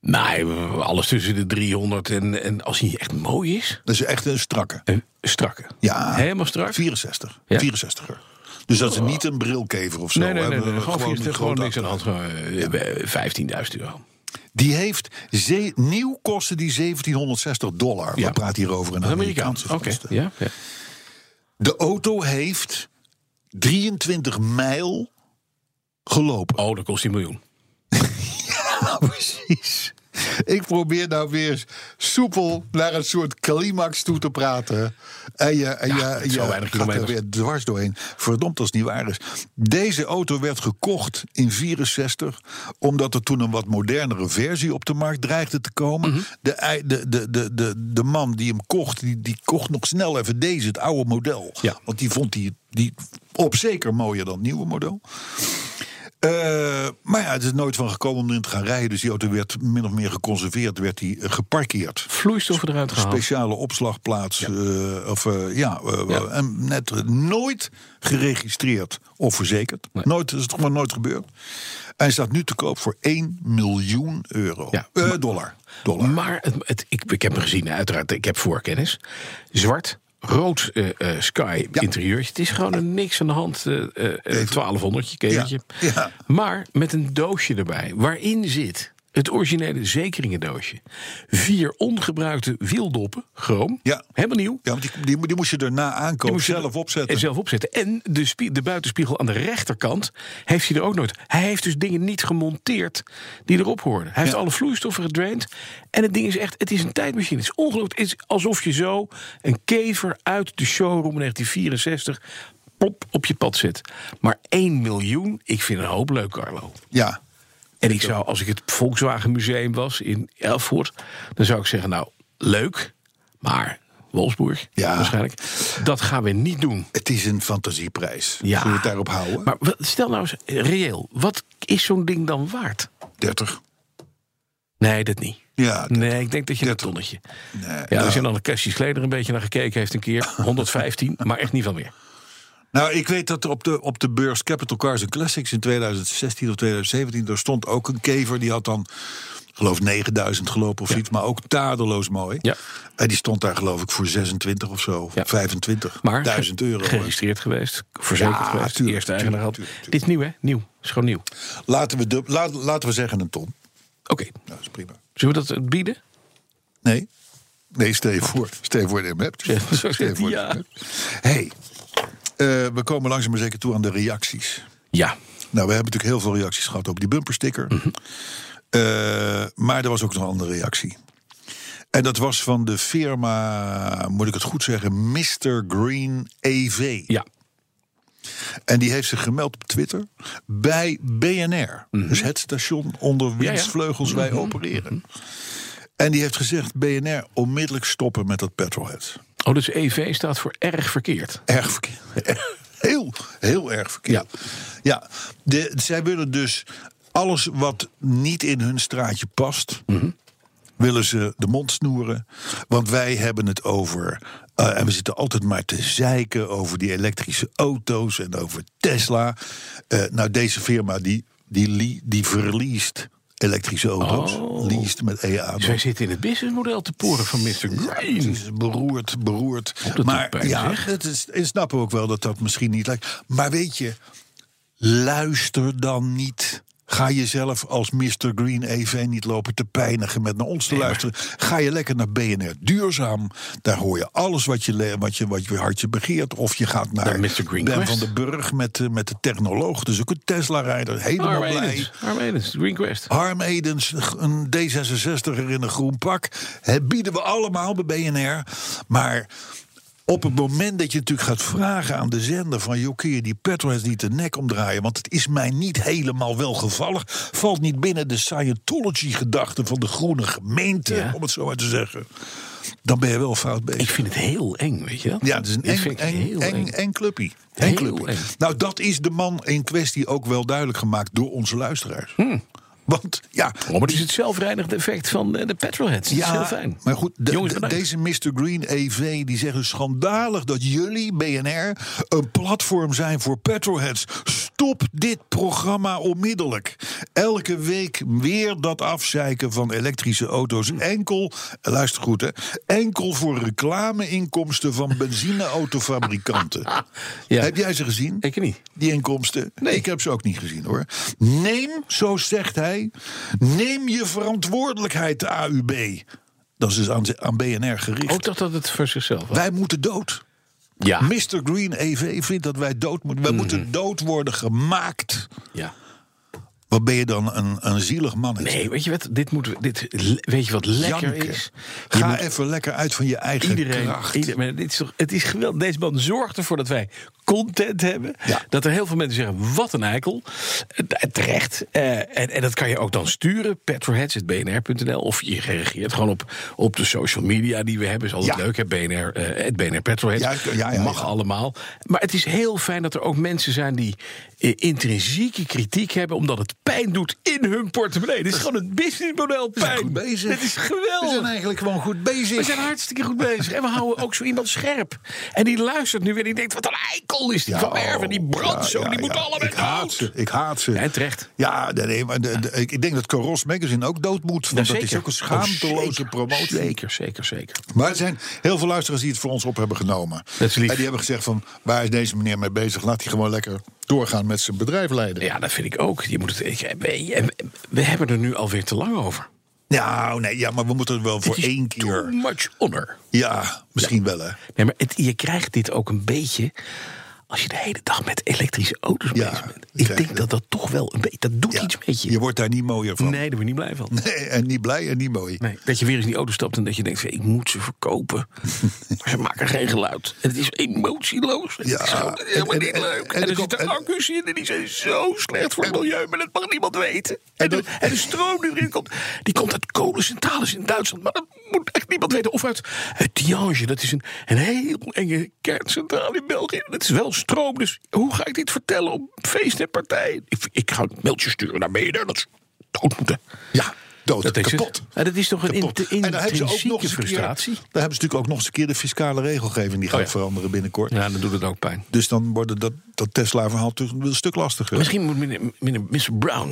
Nee, alles tussen de 300 en, en als hij echt mooi is, Dat is echt een strakke. een strakke. Ja. Helemaal strak. 64. Ja. Oh. 64er. Dus dat is niet een brilkever of zo. nee, nee, nee, hè, nee, maar Gewoon, een gewoon, gewoon grote niks aan de hand. Gewoon, eh, 15.000 euro. Die heeft ze- nieuw kosten die 1760 dollar. Ja. We praten hier over een Dat is Amerikaans. Amerikaanse Oké. kosten. Ja, ja. De auto heeft 23 mijl gelopen. Oh, dat kost hij een miljoen. Oh, precies. Ik probeer nou weer soepel naar een soort climax toe te praten. En je, en Ja, je, zo je weinig gaat er kilometers. weer dwars doorheen. Verdomd als het niet waar is. Deze auto werd gekocht in 64... omdat er toen een wat modernere versie op de markt dreigde te komen. de, ei- de, de, de, de, de man die hem kocht, die, die kocht nog snel even deze, het oude model. Ja. Want die vond die, die op zeker mooier dan het nieuwe model. Eh, maar ja, het is nooit van gekomen om erin te gaan rijden. Dus die auto werd min of meer geconserveerd, werd die eh, geparkeerd. Vloeistoffen eruit gehaald. Speciale opslagplaats. eh, of, eh, ja, eh, Ja. En net eh, nooit geregistreerd of verzekerd. Nee. Nooit, is het gewoon nooit gebeurd. En staat nu te koop voor 1 miljoen euro. Ja. Eh, dollar. dollar. Maar het, het- ik, ik heb hem gezien, uiteraard. Ik heb voorkennis. Zwart, rood eh, eh, sky Ja. interieurtje. Het is gewoon een niks aan de hand. eh eh, eh, 1200 kevertje. Ja, ja. Maar met een doosje erbij. Waarin zit het originele zekeringendoosje. Vier ongebruikte wieldoppen, chroom. Ja. Helemaal nieuw. ja, want die, die, die moest je daarna aankopen, Die moest je zelf er- opzetten. En zelf opzetten. En de, spie- de buitenspiegel aan de rechterkant heeft hij er ook nooit. Hij heeft dus dingen niet gemonteerd die erop hoorden. Hij heeft alle vloeistoffen gedraind. En het ding is echt, het is een tijdmachine. Het is ongelooflijk. Het is alsof je zo een kever uit de showroom in 1964 plop op je pad zet. Maar 1 miljoen, ik vind een hoop leuk, Carlo. Ja. En ik zou, als ik het Volkswagen Museum was in Elfort, dan zou ik zeggen: Nou, leuk, maar Wolfsburg Ja. waarschijnlijk. Dat gaan we niet doen. Het is een fantasieprijs. Zullen we het daarop houden? Maar wat- stel nou eens eh, reëel: wat is zo'n ding dan waard? 30. Nee, dat niet. Ja, Nee, ik denk dat je een tonnetje. ja, er zijn al de Cassie Kleder een beetje naar gekeken heeft een keer. 115, maar echt niet veel meer. Nou, ik weet dat er op de, op de beurs Capital Cars and Classics in 2016 of 2017... er stond ook een kever, die had dan, geloof 9000 gelopen of iets... maar ook tadeloos mooi. Ja. En die stond daar geloof ik voor 26 of zo, Ja. 25, Maar 1000 ge- euro. geregistreerd geweest, verzekerd Ja, geweest, tuurlijk, eerste eigenaar had. tuurlijk, tuurlijk, Dit is nieuw, hè? Nieuw. Is gewoon nieuw. Oké, Laten we, dub- laat, laten we zeggen een ton. Nou, dat is prima. zullen we dat eh, bieden? Nee? Nee, stel je voor. Stel je voor dat je hem hebt. Oh. Ja, Stel je voor dat je ja. hem hebt. hey, eh, we komen langzaam maar zeker toe aan de reacties. Ja. Nou, we hebben natuurlijk heel veel reacties gehad op die bumpersticker. Eh, maar er was ook nog een andere reactie. En dat was van de firma, moet ik het goed zeggen, Mr. Green EV. Ja. En die heeft zich gemeld op Twitter bij BNR. Dus het station onder wiens vleugels wij opereren. En die heeft gezegd: BNR, onmiddellijk stoppen met dat petrolhead. Oh, dus EV staat voor erg verkeerd. Erg verkeerd. Heel, heel erg verkeerd. Ja, de, zij willen dus alles wat niet in hun straatje past, willen ze de mond snoeren. Want wij hebben het over. eh, en we zitten altijd maar te zeiken over die elektrische auto's en over Tesla. Eh, nou, deze firma die, die, li- die verliest elektrische auto's. Oh. Leased met E EA. Dus wij zitten in het businessmodel te poren van Mr. Het Green. is beroerd, beroerd. dat doet maar pijn, ja, zeg. het is, ik snap ook wel dat dat misschien niet lijkt. Maar weet je, luister dan niet. Ga jezelf als Mr. Green EV niet lopen te pijnigen met naar ons te luisteren. Ga je lekker naar BNR Duurzaam. Daar hoor je alles wat je, le- wat je, wat je hartje begeert. Of je gaat naar Naar Mr. Green Ben Quest. van den Burg met, de- met de technoloog. Dus ook een Tesla-rijder. Helemaal Arm blij. Edens, Arm Edens, Green Quest. Harm Edens, een D66er in een groen pak. Het bieden we allemaal bij BNR. Maar op het moment dat je natuurlijk gaat vragen aan de zender... van joh, kun je die petrolheads niet de nek omdraaien... want het is mij niet helemaal welgevallig... valt niet binnen de Scientology-gedachte van de groene gemeente... Ja. om het zo maar te zeggen. Dan ben je wel fout bezig. Ik vind het heel eng, weet je dat? Ja, het is een Dit eng, vind ik eng, heel eng, eng clubpie. Eng Heel clubpie. eng. Nou, dat is de man in kwestie ook wel duidelijk gemaakt door onze luisteraars. Want ja, Oh, maar het Hmm. is het zelfrijdend effect van eh, de petrolheads. Dat is heel fijn. maar goed, de- Jongens, de- bedankt. deze Mr. Green EV die zegt dus schandalig dat jullie, BNR, een platform zijn voor petrolheads. Stop dit programma onmiddellijk. Elke week weer dat afzeiken van elektrische auto's. Enkel, eh, luister goed hè, enkel voor reclameinkomsten van benzineautofabrikanten. Ja. Heb jij ze gezien? Ik niet. die inkomsten. Nee. Ik heb ze ook niet gezien hoor. Neem, zo zegt hij, neem je verantwoordelijkheid, de AUB. Dat is dus aan, aan BNR gericht. Ook dat dat het voor zichzelf was. Wij moeten dood. Ja. Mr. Green EV vindt dat wij dood moeten. Hmm. Wij moeten dood worden gemaakt. ja. Wat ben je dan een, een zielig mannetje? Nee, weet je wat? Dit moeten we, dit, weet je wat lekker Janken. is? Je Ga moet even lekker uit van je eigen iedereen, kracht. ieder- maar dit is toch, het is geweldig. Deze man zorgt ervoor dat wij content hebben. Ja. Dat er heel veel mensen zeggen, wat een eikel. Eh, Terecht. Eh, en, en dat kan je ook dan sturen. Petroheads.bnr.nl Of je reageert gewoon op, op de social media die we hebben. Is altijd Ja. leuk, hè? BNR, eh, het BNR Petroheads. Ja, ja, ja, Mag ja. allemaal. Maar het is heel fijn dat er ook mensen zijn die eh, intrinsieke kritiek hebben... omdat het pijn doet in hun portemonnee. Dit is gewoon het businessmodel We zijn pijn. goed bezig. Dit is geweldig. We zijn eigenlijk gewoon goed bezig. We zijn hartstikke goed bezig. En we houden ook zo iemand scherp. En die luistert nu weer. Die denkt: wat een eikel is die Ja, oh, van Werven. Die brandt ja, zo. ja, die moet ja. allemaal Ik haat ze. dood. Ik haat ze. En terecht. Ja, nee, nee, maar de- de- ik ik denk dat Caros Magazine ook dood moet. Want dat is ook een Oh, schaamteloze zeker, promotie. Zeker, zeker, zeker. Maar er zijn heel veel luisteraars die het voor ons op hebben genomen. Dat is lief. En die hebben gezegd van, waar is deze meneer mee bezig? Laat hij gewoon lekker doorgaan met zijn bedrijf leiden. Ja, dat vind ik ook. Je moet het, ik- we, we hebben er nu alweer te lang over. Nou, nee, ja, maar we moeten het wel voor Het is één Too keer. much honor. Ja, misschien wel, hè. Nee, maar het, je krijgt dit ook een beetje. Als je de hele dag met elektrische auto's Ja, bezig bent. krijg Ik je denk dat. dat dat toch wel een beetje. Dat doet Ja, iets met je. Je wordt daar niet mooier van. nee, daar ben je niet blij van. Nee, en niet blij en niet mooi. Nee, dat je weer eens in die auto stapt en dat je denkt: ik moet ze verkopen. maar ze maken geen geluid. En het is emotieloos. Het Ja, is gewoon helemaal en- en- niet en- leuk. en En, er er komt- zitten en- accu's in en die zijn zo slecht voor het milieu, maar dat mag niemand weten. En, de, en de stroom die erin komt, die komt uit kolencentrales in Duitsland, maar dat moet echt niemand weten. Of uit, uit Tiange, dat is een, een heel enge kerncentrale in België. Dat is wel stroom, dus hoe ga ik dit vertellen op feesten en partijen? Ik, ik ga een mailtje sturen naar BNR, dat ze dood moeten. Ja, dood, Dat is het. kapot. Ja, dat is toch een Kapot. in- En daar hebben ze ook nog eens intrinsieke een keer- frustratie? Oh Daar hebben ze natuurlijk ook nog eens een keer de fiscale regelgeving die gaat ja. veranderen binnenkort. Ja, dan doet het ook pijn. Dus dan wordt dat, dat Tesla-verhaal natuurlijk een stuk lastiger. Misschien moet meneer, meneer, Mr. Brown.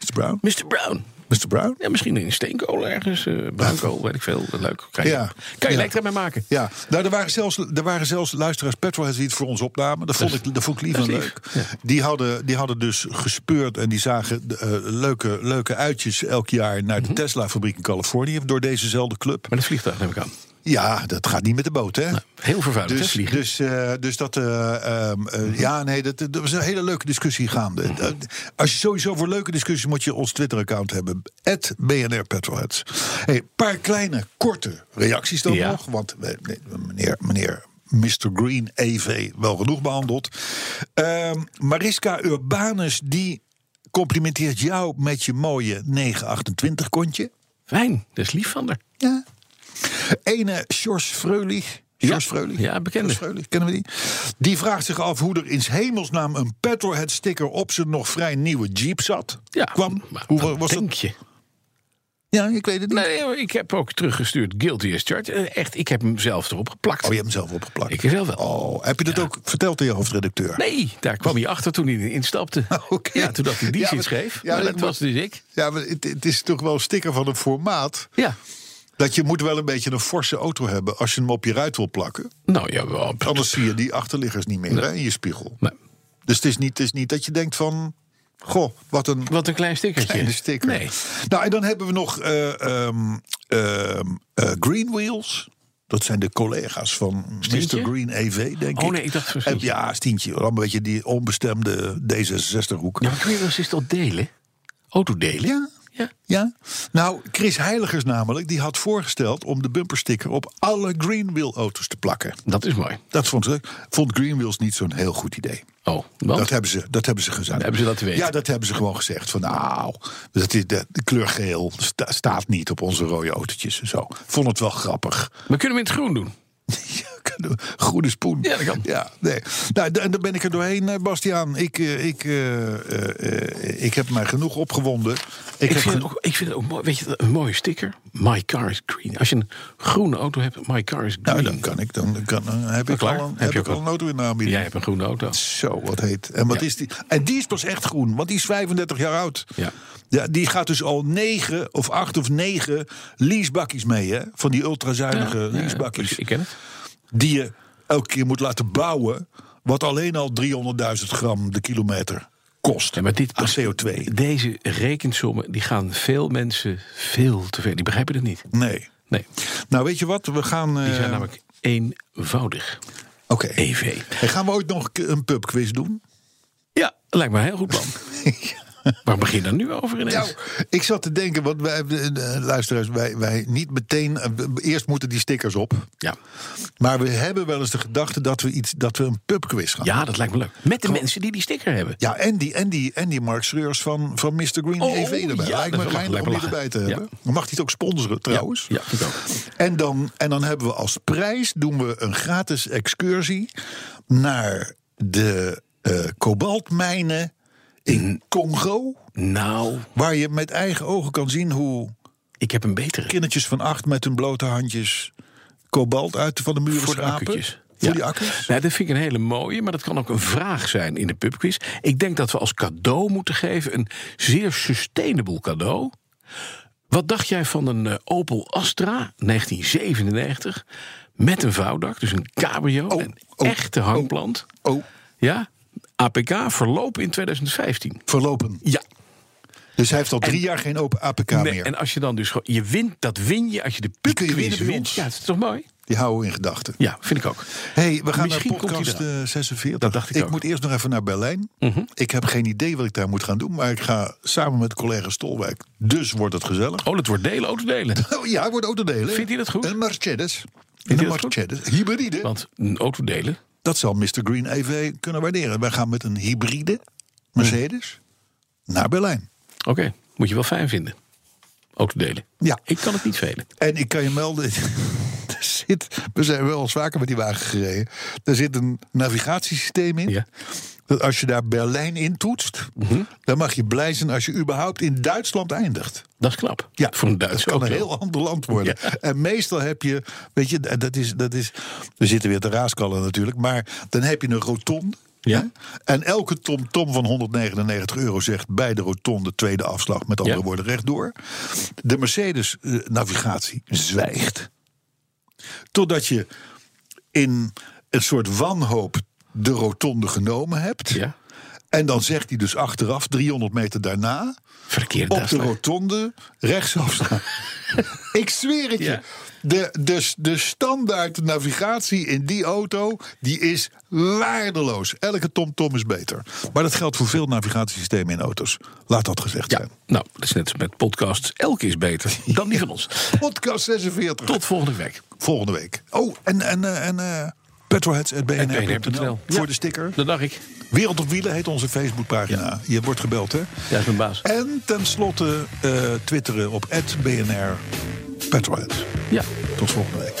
Mr. Brown? Mr. Brown. Mr. Brown? Ja, misschien in steenkool ergens. eh bruinkool, weet ik veel. Leuk. Kan je, Ja. kan je Ja. elektra mee maken. Ja, nou, er waren zelfs, er waren zelfs luisteraars Petrolheads die het voor ons opnamen. Dat vond ik, dat vond ik lief dat en is leuk. Die, hadden, die hadden dus gespeurd en die zagen eh, leuke, leuke uitjes elk jaar naar de Mhm. Tesla-fabriek in Californië. Door dezezelfde club. Met een vliegtuig neem ik aan. Ja, dat gaat niet met de boot, hè? Heel vervuilend, hè, Dus, vliegen. Mhm. dus, eh, dus dat. eh, ehm, eh, ja, nee, dat, dat was een hele leuke discussie gaande. Eh, Als je sowieso voor leuke discussies moet je ons Twitter-account hebben. BNR Petrolheads. Een hey, paar kleine, korte reacties dan Ja. nog. Want eh, nee, meneer, meneer Mr. Green EV wel genoeg behandeld. Ehm, Mariska Urbanus, die complimenteert jou met je mooie 928 kontje. Fijn, dat is lief van haar. Ja. Ene Sjors Freulich. Sjors Ja. Freulich? Ja, bekende. Sjors Freulich, kennen we die? Die vraagt zich af hoe er in 's hemelsnaam een petrolhead sticker op zijn nog vrij nieuwe Jeep zat. Ja, Kwam. maar Hoe wat was denk dat? je? Ja, ik weet het niet. Nee, maar ik heb ook teruggestuurd Guilty as Charged. Eh, Echt, ik heb hem zelf erop geplakt. Oh, je hebt hem zelf opgeplakt. Ik zelf wel. Oh, heb je dat ook verteld aan je hoofdredacteur? Nee, daar kwam hij achter toen hij erin instapte. Oké. Ja, toen dacht hij, die Ja, zit maar- scheef. ja, maar dat dat was dus ik. Ja, maar het, het is toch wel een sticker van een formaat. Ja. Dat je moet wel een beetje een forse auto hebben als je hem op je ruit wil plakken. Nou ja, wel. Anders zie je die achterliggers niet meer hè, in je spiegel. Maar Dus het is, niet, het is niet dat je denkt van... Goh, wat een Wat een klein stickertje. kleine sticker. Nee. Nou, en dan hebben we nog eh, ehm, ehm, eh, Green Wheels. Dat zijn de collega's van Stientje? Mr. Green EV, denk Oh, ik. nee, ik dacht van Eh, Stientje. Ja, Stientje. Dan een beetje die onbestemde D66-hoek. Ja, maar kun je wel eens is dat delen? Autodelen? Ja. Ja. Ja? Nou, Chris Heiligers namelijk, die had voorgesteld om de bumpersticker op alle Greenwheel auto's te plakken. Dat is mooi. Dat vond, ze, vond Greenwheels niet zo'n heel goed idee. Oh, want? Dat hebben ze, dat hebben ze gezegd. hebben ze laten weten. Ja, dat hebben ze gewoon gezegd. Van nou, dat is, de, de kleur geel sta- staat niet op onze rode autootjes en zo. Vond het wel grappig. We kunnen hem in het groen doen. Ja, kunnen we- Goede spoen. Ja, dat kan. Ja, nee. Nou, d- en daar ben ik er doorheen, eh, Bastiaan. Ik, eh, ik, eh, eh, eh, ik heb mij genoeg opgewonden. Ik, heb vind gen- het ook, ik vind het ook mooi. Weet je, een mooie sticker. My car is green. Als je een groene auto hebt, my car is green. Nou, dan kan ik. Dan, kan, dan heb ik, klaar. al een, Heb heb je ik ook al een al. auto in de aanbieding. Jij hebt een groene auto. Zo, wat heet. En, wat Ja. is die? en die is pas echt groen, want die is 35 jaar oud. Ja. Ja, die gaat dus al negen of acht of negen leasebakjes mee, hè? Van die ultrazuinige Ja, ja, leasebakjes. ik- Ik ken het. Die je elke keer moet laten bouwen, wat alleen al 300.000 gram de kilometer kost. Ja, maar dit aan CO2. Deze rekensommen, die gaan veel mensen veel te ver. Die begrijpen het niet. Nee. Nee, Nou, weet je wat? We gaan. die eh, E zijn namelijk eenvoudig. Oké. EV. En gaan we ooit nog een pubquiz doen? Ja, lijkt me een heel goed plan. Waar begin je dan nu over ineens? Nou, ik zat te denken, want wij, eh, eh, luisteraars, wij, wij niet meteen. eh, we- Eerst moeten die stickers op. Ja. Maar we hebben wel eens de gedachte dat we, iets, dat we een pubquiz gaan. ja, dat lijkt me leuk. Met de mensen die die sticker hebben. Ja, en die, en die, en die Mark Schreurs van, van Mr. Green Oh, EV erbij. ja, Lijkt dat me is wel geinig om die lachen. erbij te Ja. hebben. Dan mag hij het ook sponsoren trouwens. Ja, vind ik ook. En, dan, en dan hebben we als prijs doen we een gratis excursie naar de eh, kobaltmijnen Mm. in Congo. Nou, Waar je met eigen ogen kan zien hoe ik heb een betere. kindertjes van acht met hun blote handjes kobalt uit van de muren Voor de schrapen. akkertjes. Voor Ja. die akkers. Nou, dat vind ik een hele mooie, maar dat kan ook een vraag zijn in de pubquiz. Ik denk dat we als cadeau moeten geven een zeer sustainable cadeau. Wat dacht jij van een eh, Opel Astra 1997 met een vouwdak, dus een cabrio, Oh, een oh, echte hangplant? Oh, Ja, APK verloop in 2015. verlopen. Ja, Dus hij heeft al drie jaar geen open APK nee, meer. en als je dan dus gewoon, je wint, dat win je als je de Die kun je pubquiz winnen bij wint. ons. Ja, dat is toch mooi? Die houden we in gedachten. Ja, vind ik ook. Hey, we gaan Misschien naar komt hij podcast eraan. eh, 46. Dat dacht ik ook. Mhm. moet eerst nog even naar Berlijn. Ik heb geen idee wat ik daar moet gaan doen. Maar ik ga samen met collega Stolwijk. Dus wordt het gezellig. Oh, dat wordt delen, autodelen. Oh, ja, wordt autodelen. Vindt hij dat goed? Een Mercedes. hij Een dat goed? Mercedes. Hybride. Want mm, een autodelen, Dat zal Mr. Green EV kunnen waarderen. Wij gaan met een hybride Mercedes Mm. naar Berlijn. oké, moet je wel fijn vinden. Autodelen. Ja. Ik kan het niet velen. En ik kan je melden. er Zit, we zijn wel eens vaker met die wagen gereden. Er zit een navigatiesysteem in. Ja. Dat als je daar Berlijn in toetst, dan mag je blij zijn als je überhaupt in Duitsland eindigt. Dat is knap. Ja, Voor een Duits dat kan auto. een heel ander land worden. Ja. En meestal heb je, weet je, dat is, dat is, we zitten weer te raaskallen natuurlijk, maar dan heb je een rotonde. Ja. hè? En elke tom-tom van 199 euro zegt bij de rotonde tweede afslag, met andere Ja. woorden rechtdoor. De Mercedes-navigatie zwijgt. Totdat je in een soort wanhoop de rotonde genomen hebt. Ja. En dan zegt hij dus achteraf, 300 meter daarna, Verkeerde op de Duitsland. rotonde rechtsaf staan. Ik zweer het je. Ja. De, de, de standaard navigatie in die auto die is waardeloos. Elke TomTom is beter. Maar dat geldt voor veel navigatiesystemen in auto's. Laat dat gezegd Ja, zijn. nou, dat is net als met podcasts. Elke is beter dan die van ons. Podcast 46. Tot volgende week. volgende week. Oh, en, en, eh, en eh, Petrolheads.bnr.nl. Ja, Voor de sticker. Dat dacht ik. Wereld op Wielen heet onze Facebookpagina. Je wordt gebeld, hè? Ja, is mijn baas. En tenslotte eh twitteren op @bnr Petrolheads. Ja. Tot volgende week.